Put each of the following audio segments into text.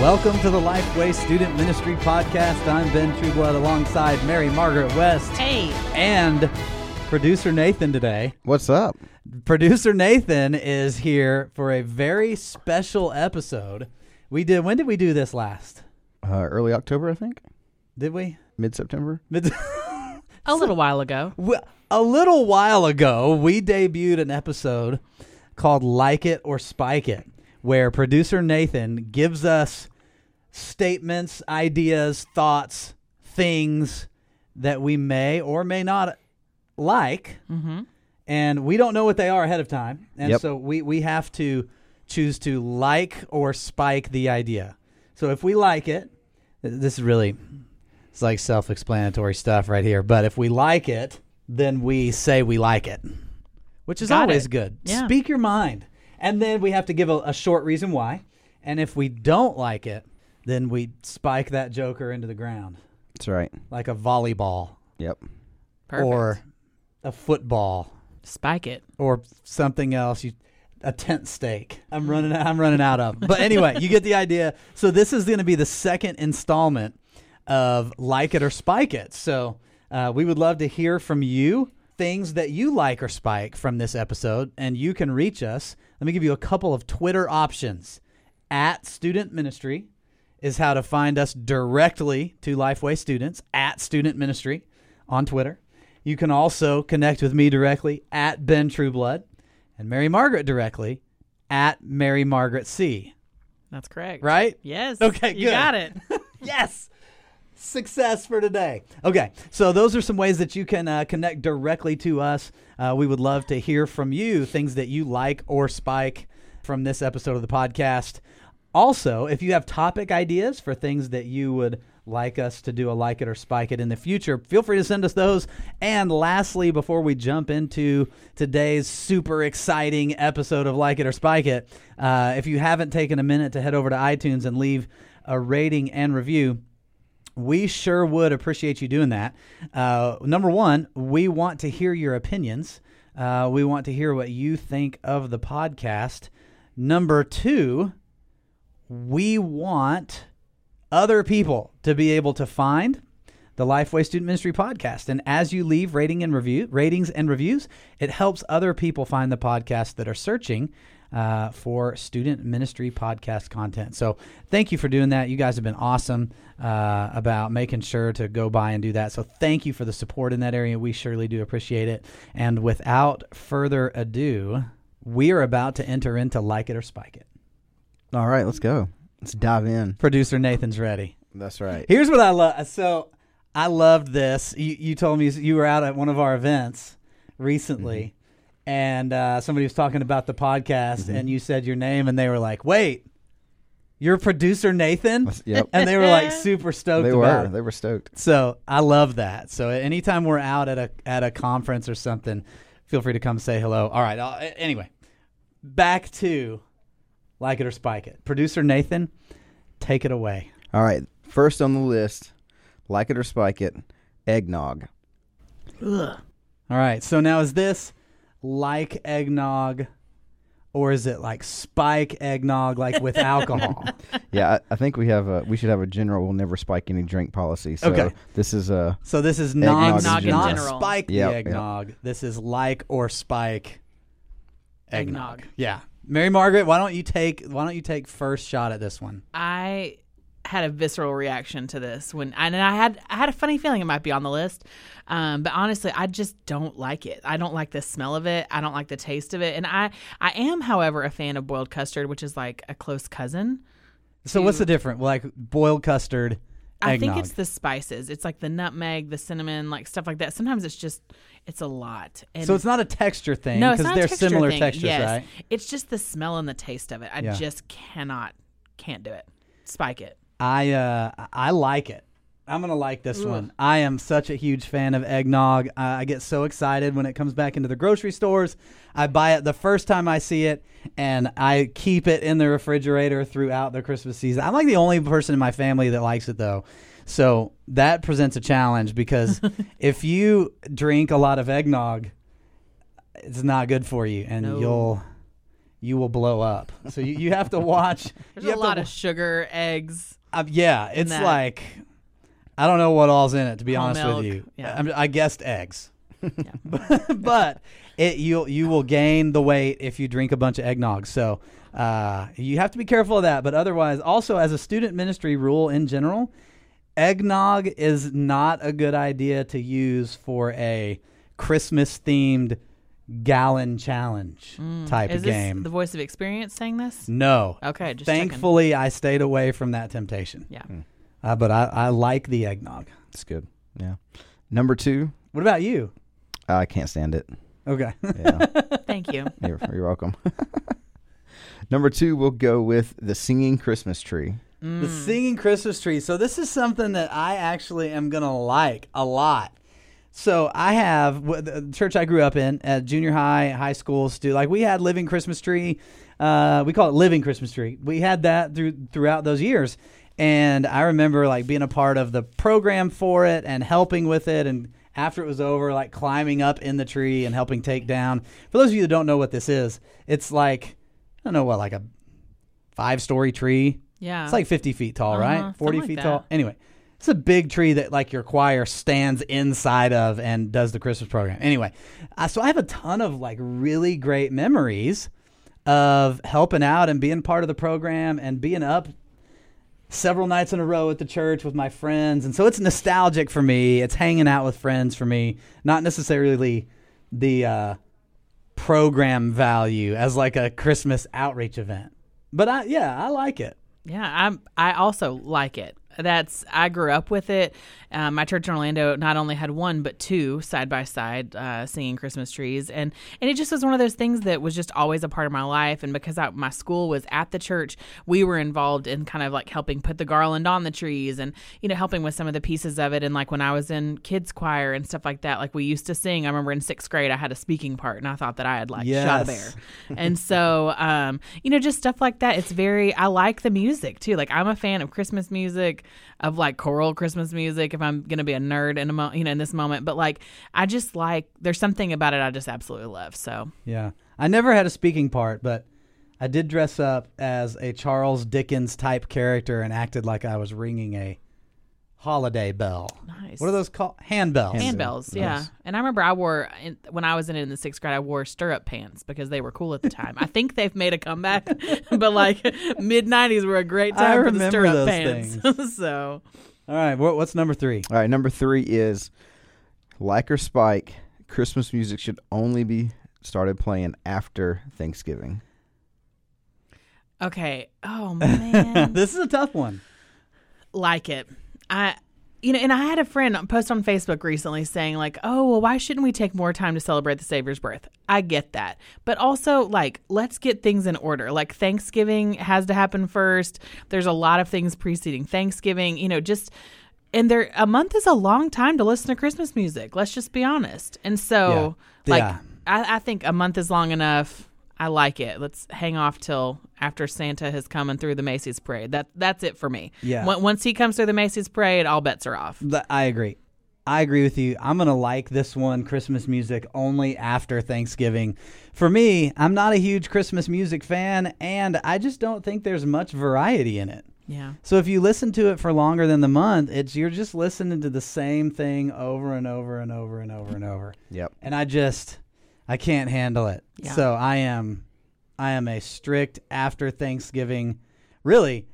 Welcome to the Lifeway Student Ministry Podcast. I'm Ben Trueblood alongside Mary Margaret West Hey, and producer Nathan today. What's up? Producer Nathan is here for a very special episode. We did, when did we do this last? Uh, early October, I think. Did we? Mid September. Mid- a little while ago. Well, a little while ago, we debuted an episode called Like It or Spike It, where producer Nathan gives us statements, ideas, thoughts, things that we may or may not like. Mm-hmm. And we don't know what they are ahead of time. And Yep. so we, we have to choose to like or spike the idea. So if we like it, th- this is really it's like self-explanatory stuff right here. But if we like it, then we say we like it, which is Got always it. good. Yeah. Speak your mind, and then we have to give a, a short reason why. And if we don't like it, then we spike that joker into the ground That's right. like a volleyball Yep. Perfect. or a football spike it. or something else. You, a tent stake. I'm running. I'm running out of. 'em. But anyway, you get the idea. So this is going to be the second installment of like it or spike it. So uh, we would love to hear from you things that you like or spike from this episode, and you can reach us. Let me give you a couple of Twitter options. At Student Ministry is how to find us directly to Lifeway students. At Student Ministry on Twitter. You can also connect with me directly at Ben Trueblood and Mary Margaret directly at Mary Margaret C. That's correct. Right? Yes. Okay, You good. got it. Yes. Success for today. Okay, so those are some ways that you can uh, connect directly to us. Uh, we would love to hear from you things that you like or spike from this episode of the podcast. Also, if you have topic ideas for things that you would like us to do a like it or spike it in the future, feel free to send us those. And lastly, before we jump into today's super exciting episode of Like It or Spike It, uh, if you haven't taken a minute to head over to iTunes and leave a rating and review, we sure would appreciate you doing that. Uh, number one, we want to hear your opinions. Uh, we want to hear what you think of the podcast. Number two, we want other people to be able to find the Lifeway Student Ministry podcast. And as you leave rating and review ratings and reviews, it helps other people find the podcast that are searching uh, for student ministry podcast content. So thank you for doing that. You guys have been awesome uh, about making sure to go by and do that. So thank you for the support in that area. We surely do appreciate it. And without further ado, we are about to enter into like it or spike it. All right, let's go. Let's dive in. Producer Nathan's ready. That's right. Here's what I love. So I loved this. You, you told me you were out at one of our events recently, Mm-hmm. and uh, somebody was talking about the podcast, and you said your name, and they were like, "Wait, you're producer Nathan," Yep. and they were like super stoked. they about were. it. They were stoked. So I love that. So anytime we're out at a at a conference or something, feel free to come say hello. All right. I'll, a- anyway, back to like it or spike it. Producer Nathan, take it away. All right. First on the list, like it or spike it, eggnog. Ugh. All right. So now is this like eggnog or is it like spike eggnog like with alcohol? Yeah, I, I think we have a we should have a general we'll never spike any drink policy. So Okay. this is a So this is Eggnog non in not general. spike the Yep, yep. eggnog. This is like or spike eggnog. Eggnog. Yeah. Mary Margaret, why don't you take why don't you take first shot at this one? I had a visceral reaction to this when and I had I had a funny feeling it might be on the list. Um, but honestly, I just don't like it. I don't like the smell of it. I don't like the taste of it. And I I am however a fan of boiled custard, which is like a close cousin. So what's the difference? Like boiled custard I eggnog. think it's the spices. It's like the nutmeg, the cinnamon, like stuff like that. Sometimes it's just it's a lot. And so it's not a texture thing no, it's because not a they're texture similar thing. textures, yes. right? It's just the smell and the taste of it. I Yeah. just cannot can't do it. Spike it. I uh, I like it. I'm gonna like this one. I am such a huge fan of eggnog. Uh, I get so excited when it comes back into the grocery stores. I buy it the first time I see it, and I keep it in the refrigerator throughout the Christmas season. I'm like the only person in my family that likes it though, so that presents a challenge because if you drink a lot of eggnog, it's not good for you, and No. you'll you will blow up. So you, you have to watch. There's you a have lot to, of sugar, eggs. uh, yeah, it's that. like I don't know what all's in it to be Whole honest milk, with you. yeah. I, I guessed eggs, but it you you will gain the weight if you drink a bunch of eggnog. So uh, you have to be careful of that. But otherwise, also as a student ministry rule in general, eggnog is not a good idea to use for a Christmas themed gallon challenge type Mm. Is of this game. the voice of experience saying this? no. Okay, just checking. Thankfully, I stayed away from that temptation. Yeah. Uh, but I, I like the eggnog. It's good. Yeah. Number two, What about you? I can't stand it. Okay. Yeah. Thank you. you're, you're welcome. Number two, we'll go with the singing Christmas tree. The singing Christmas tree. So this is something that I actually am gonna like a lot. So I have w- the church I grew up in, at junior high, high school, stu- like we had living Christmas tree. Uh, we call it living Christmas tree. We had that through throughout those years, and I remember like being a part of the program for it and helping with it and. After it was over, like climbing up in the tree and helping take down. For those of you that don't know what this is, it's like, I don't know what, like a five story tree. Yeah. It's like 50 feet tall, Uh-huh, right? 40 something like feet that. tall. Anyway, it's a big tree that like your choir stands inside of and does the Christmas program. Anyway, uh, so I have a ton of like really great memories of helping out and being part of the program and being up several nights in a row at the church with my friends. And so it's nostalgic for me. It's hanging out with friends for me, not necessarily the uh, program value as like a Christmas outreach event. But I, yeah, I like it. Yeah, I'm. I also like it. That's I grew up with it. Um, my church in Orlando not only had one but two side by side uh, singing Christmas trees, and and it just was one of those things that was just always a part of my life. And because I, my school was at the church, we were involved in kind of like helping put the garland on the trees, and you know helping with some of the pieces of it. And like when I was in kids choir and stuff like that, like we used to sing. I remember in sixth grade I had a speaking part, and I thought that I had like shot a Yes. bear and so um, you know just stuff like that it's very i like the music too like i'm a fan of christmas music of like choral christmas music if i'm gonna be a nerd in a mo- you know in this moment but like i just like there's something about it i just absolutely love so Yeah. I never had a speaking part, but I did dress up as a Charles Dickens type character and acted like I was ringing a holiday bell. nice What are those called? Handbells. handbells yeah and i remember i wore in, when i was in it in the sixth grade i wore stirrup pants because they were cool at the time i think they've made a comeback but like mid-90s were a great I time for the remember stirrup those pants so All right. What, what's number three? All right, number three is like or spike. Christmas music should only be started playing after Thanksgiving. okay oh man This is a tough one. like it. I you know, and I had a friend post on Facebook recently saying like, "Oh, well why shouldn't we take more time to celebrate the Savior's birth?" I get that. But also like, let's get things in order. Like Thanksgiving has to happen first. There's a lot of things preceding Thanksgiving, you know, just and there a month is a long time to listen to Christmas music. Let's just be honest. And so Yeah. like Yeah. I, I think a month is long enough. I like it. Let's hang off till after Santa has come and through the Macy's parade. That that's it for me. Yeah. Once- once he comes through the Macy's parade, all bets are off. Th- I agree. I agree with you. I'm going to like this one, Christmas music, only after Thanksgiving. For me, I'm not a huge Christmas music fan, and I just don't think there's much variety in it. Yeah. So if you listen to it for longer than the month, it's you're just listening to the same thing over and over and over and over and over. Yep. And I just I can't handle it. Yeah. So I am I am a strict after Thanksgiving. Really,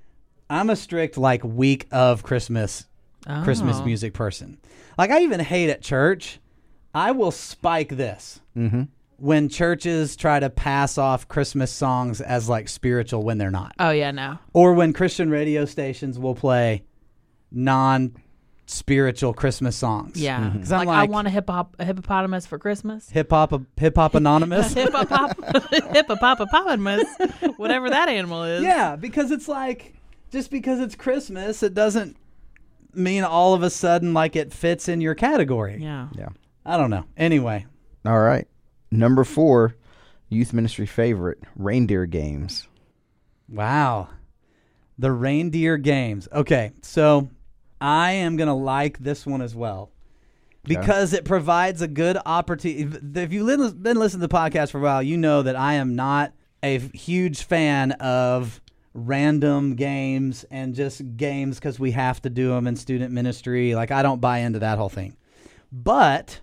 I'm a strict like week of Christmas Christmas Oh. music person. Like I even hate at church. I will spike this Mm-hmm. when churches try to pass off Christmas songs as like spiritual when they're not Oh yeah, no. or when Christian radio stations will play non spiritual Christmas songs. Yeah. 'Cause I'm Mm-hmm. Like, like, I want a hip hop a hippopotamus for Christmas. hip hop hip hop anonymous. Hippopop hippopotamus, whatever that animal is. yeah, because it's like just because it's Christmas, it doesn't mean all of a sudden like it fits in your category. Yeah. Yeah. I don't know. Anyway, All right. Number four, youth ministry favorite, reindeer games. wow. The reindeer games. Okay, so I am going to like this one as well. because it provides a good opportunity. If you've been listening to the podcast for a while, you know that I am not a f- huge fan of random games and just games because we have to do them in student ministry. Like, I don't buy into that whole thing. But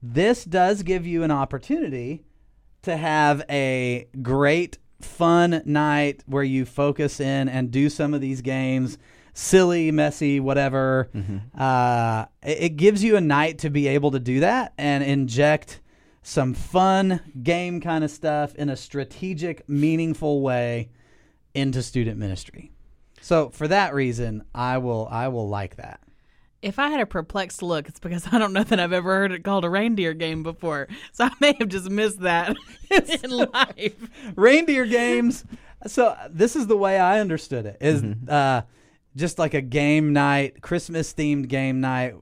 this does give you an opportunity to have a great, fun night where you focus in and do some of these games silly, messy, whatever. Uh, it, it gives you a night to be able to do that and inject some fun game kind of stuff in a strategic, meaningful way into student ministry. So for that reason, I will I will like that. If I had a perplexed look, it's because I don't know that I've ever heard it called a reindeer game before. So I may have just missed that in life. reindeer games. So uh, this is the way I understood it is, Mm-hmm. uh, just like a game night, Christmas themed game night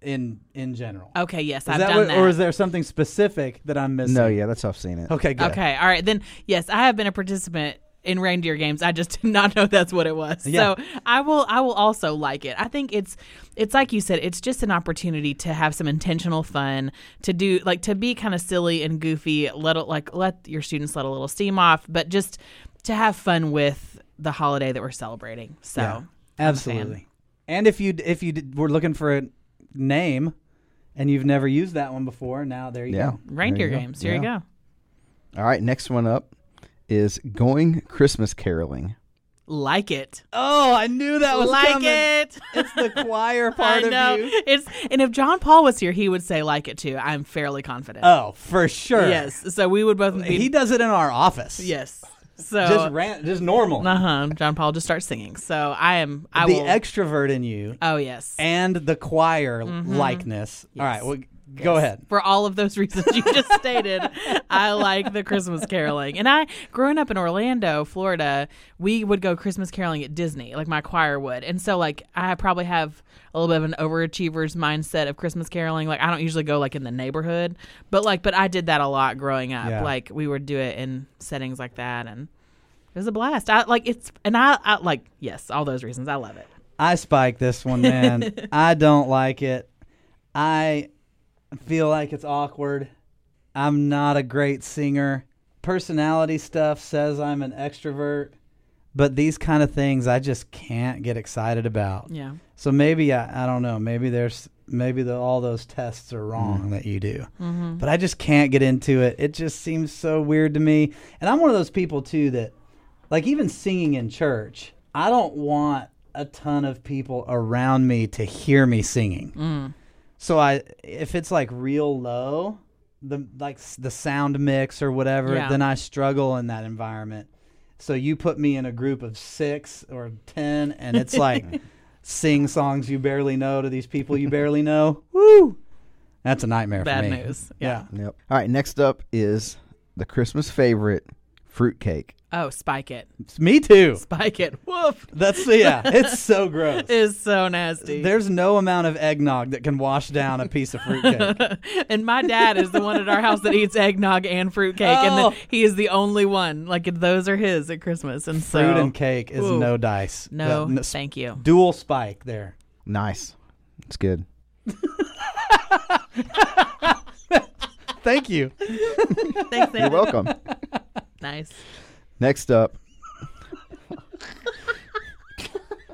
in in general. Okay, Oh, yes, is I've that done what- that. or is there something specific that I'm missing? No, yeah, that's how I've seen it. Okay, good. Okay, all right. Then, yes, I have been a participant in reindeer games. I just did not know that's what it was. Yeah. So I will I will also like it. I think it's it's like you said, it's just an opportunity to have some intentional fun, to do like to be kind of silly and goofy, let it, like let your students let a little steam off, but just to have fun with the holiday that we're celebrating. So Yeah, absolutely. And if you if you did, were looking for a name, and you've never used that one before, now there you Yeah. go. There reindeer you go. games. Here Yeah. you go. All right, next one up is Going Christmas Caroling. Like it. Oh, I knew that was like coming. it. It's the choir I part know. of you. It's and if John Paul was here, he would say like it too. I'm fairly confident. Oh, for sure. Yes. So we would both be. he does it in our office. yes. So. just ran, just normal. uh huh. John Paul just starts singing. So I am. I the will. extrovert in you oh yes. and the choir likeness. All right, well, go Mm-hmm. Yes. ahead. For all of those reasons you just stated, I like the Christmas caroling. And I, growing up in Orlando, Florida, we would go Christmas caroling at Disney, like my choir would. And so, like, I probably have a little bit of an overachiever's mindset of Christmas caroling. Like, I don't usually go like in the neighborhood, but like, but I did that a lot growing up. Yeah. Like, we would do it in settings like that, and it was a blast. I like it's, and I, I like yes, all those reasons. I love it. I spike this one, man. I don't like it. I feel like it's awkward. I'm not a great singer. Personality stuff says I'm an extrovert, but these kind of things I just can't get excited about. Yeah. So maybe I, I don't know. Maybe there's maybe the, all those tests are wrong that you do, but I just can't get into it. It just seems so weird to me. And I'm one of those people too that, like, even singing in church, I don't want a ton of people around me to hear me singing. So I, if it's like real low, the like s- the sound mix or whatever, Yeah. then I struggle in that environment. So you put me in a group of six or ten, and it's like sing songs you barely know to these people you barely know. Woo! That's a nightmare Bad for me. news. Yeah. Yep. All right, next up is the Christmas favorite, fruitcake. Oh, spike it. It's- Me too. Spike it. Woof. That's yeah. It's so gross. is so nasty. There's no amount of eggnog that can wash down a piece of fruitcake. and my dad is the one at our house that eats eggnog and fruitcake, and Oh. then he is the only one. Like those are his at Christmas, and so Fruit and cake is Ooh. no dice. no, The- n- thank you. dual spike there. Nice. It's good. Thank you. Thanks, You're Dad. welcome. Nice. next up,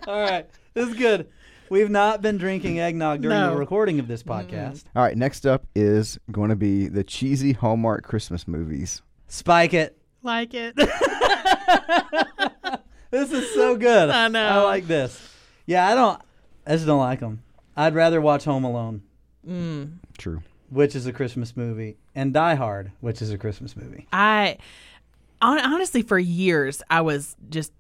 All right. This is good. We've not been drinking eggnog during No. the recording of this podcast. all right, next up is going to be the cheesy Hallmark Christmas movies. Spike it. Like it. This is so good. I know. I like this. Yeah, I don't. I just don't like them. I'd rather watch Home Alone, True. which is a Christmas movie, and Die Hard, which is a Christmas movie. I hon- honestly, for years, I was just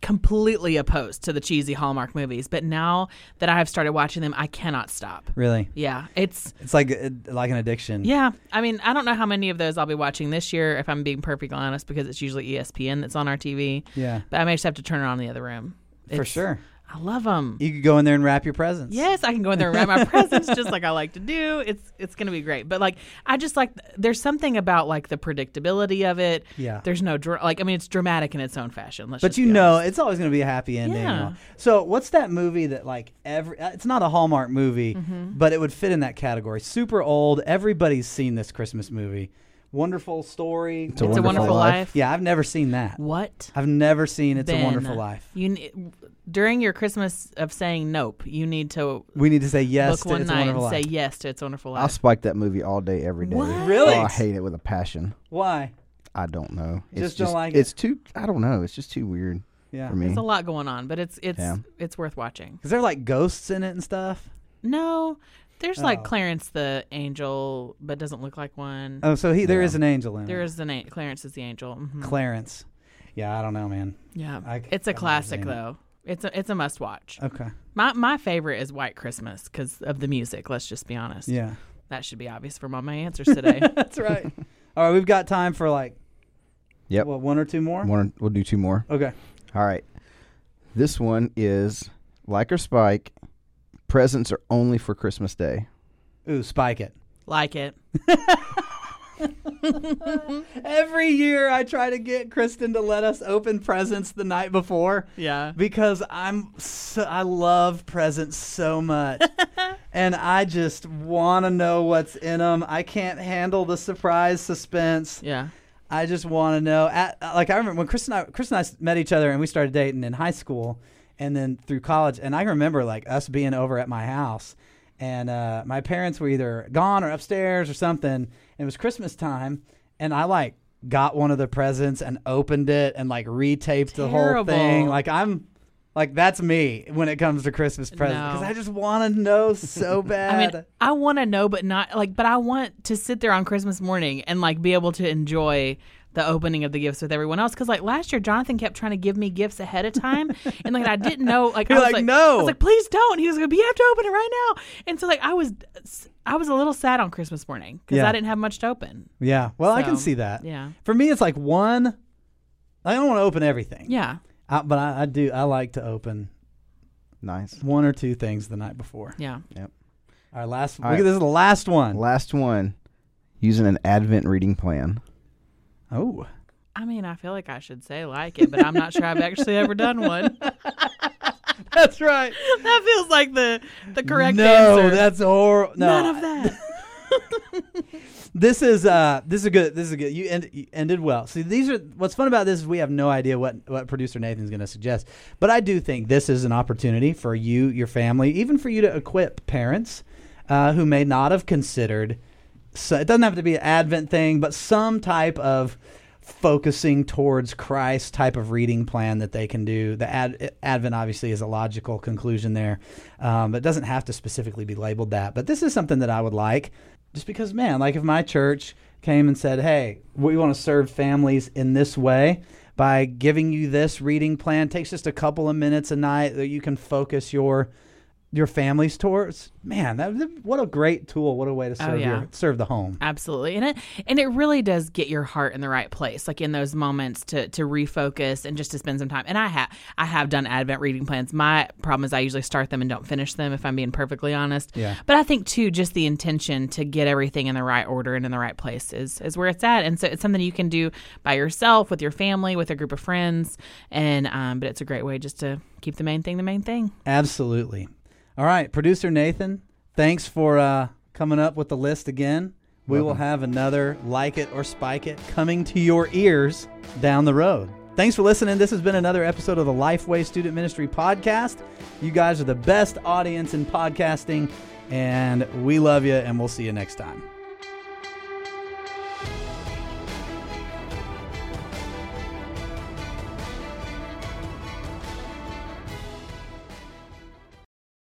completely opposed to the cheesy Hallmark movies, but now that I have started watching them, I cannot stop. Really, Yeah, it's it's like uh, like an addiction. Yeah, I mean, I don't know how many of those I'll be watching this year, if I'm being perfectly honest, because it's usually E ESPN that's on our TV. Yeah. but I may just have to turn it on in the other room. for It's- sure. I love them. You could go in there and wrap your presents. Yes, I can go in there and wrap my presents just like I like to do. It's it's gonna be great. But like, I just like there's something about like the predictability of it. Yeah. there's no dra- like I mean, it's dramatic in its own fashion. Let's But just you be know, honest. it's always going to be a happy ending. Yeah. and all. So, what's that movie that like every? uh, It's not a Hallmark Mm-hmm. movie, but it would fit in that category. Super old. Everybody's seen this Christmas movie. Wonderful Story. It's a It's a Wonderful Wonderful Life. Life. Yeah, I've never seen that. What? I've never seen It's a Ben, Wonderful Life. You n- during your Christmas of saying nope, you need to We need to say yes book to one It's a night and Wonderful say Life. yes to It's a Wonderful I'll Life. spike that movie all day, every day. What? Really? Oh, I hate it with a passion. Why? I don't know. It's Just don't like it? It's too. I don't know. It's just too weird Yeah. for me. There's a lot going on, but it's it's Yeah. it's worth watching. Because they're like ghosts in it and stuff. No, there's Oh. like Clarence the angel, but doesn't look like one. Oh, so he there Yeah. is an angel in There it. is the name Clarence is the angel. Hmm. Mhm. Clarence. Yeah, I don't know, man. yeah, I- it's a I've never classic seen it. though. It's a it's a must watch. Okay. My my favorite is White Christmas because of the music. Let's just be honest. Yeah. That should be obvious from all my answers today. That's right. All right, we've got time for like Yep. what, one or two more? One, we'll do two more. Okay. All right. This one is like or spike. Presents are only for Christmas Day. Ooh, spike it. like it. Every year I try to get Kristen to let us open presents the night before Yeah. because I'm so, I love presents so much. and I just want to know what's in them. I can't handle the surprise suspense. Yeah. I just want to know. At, like I remember when Chris and I, Chris and I s- met each other and we started dating in high school, and then through college. And I remember like us being over at my house, and uh, my parents were either gone or upstairs or something. And it was Christmas time, and I like got one of the presents and opened it and like retaped the whole Terrible. thing. Like I'm. Like that's me when it comes to Christmas presents because No. I just want to know so I bad. mean, I want to know, but not like, but I want to sit there on Christmas morning and like be able to enjoy the opening of the gifts with everyone else. Cause like last year, Jonathan kept trying to give me gifts ahead of time. and like, I didn't know, like, I You're was like, like, "No." I was like, please don't. He was like, but you have to open it right now. And so like, I was, I was a little sad on Christmas morning cause Yeah. I didn't have much to open. yeah, well I So, can see that. Yeah. For me, it's like one. I don't want to open everything. Yeah. I, but I, I do. I like to open Nice. one or two things the night before. Yeah. Our last. All look right. at This is the last one. Last one, using an Advent reading plan. Oh, I mean, I feel like I should say like it, but I'm not sure I've actually ever done one. that's right. that feels like the the correct no, answer. that's horrible. No, None of that. this is uh, this is good. This is good. You, end, you ended well. See, these are what's fun about this is we have no idea what what producer Nathan's going to suggest, but I do think this is an opportunity for you, your family, even for you to equip parents uh, who may not have considered. So it doesn't have to be an Advent thing, but some type of focusing towards Christ type of reading plan that they can do. The ad, Advent obviously is a logical conclusion there, um, but it doesn't have to specifically be labeled that. But this is something that I would like, just because, man, like if my church came and said, "Hey, we want to serve families in this way." By giving you this reading plan It takes just a couple of minutes a night that you can focus your your families towards. Man, that, what a great tool! What a way to serve yeah. your, serve the home. Absolutely. And it and it really does get your heart in the right place, like in those moments to to refocus and just to spend some time. And I have I have done Advent reading plans. My problem is I usually start them and don't finish them if I'm being perfectly honest. Yeah. But I think too, just the intention to get everything in the right order and in the right place is is where it's at. And so it's something you can do by yourself, with your family, with a group of friends. And um, but it's a great way just to keep the main thing the main thing. Absolutely. All right, producer Nathan, thanks for uh, coming up with the list again. We will have another like it or spike it coming to your ears down the road. Thanks for listening. This has been another episode of the Lifeway Student Ministry Podcast. You guys are the best audience in podcasting, and we love you, and we'll see you next time.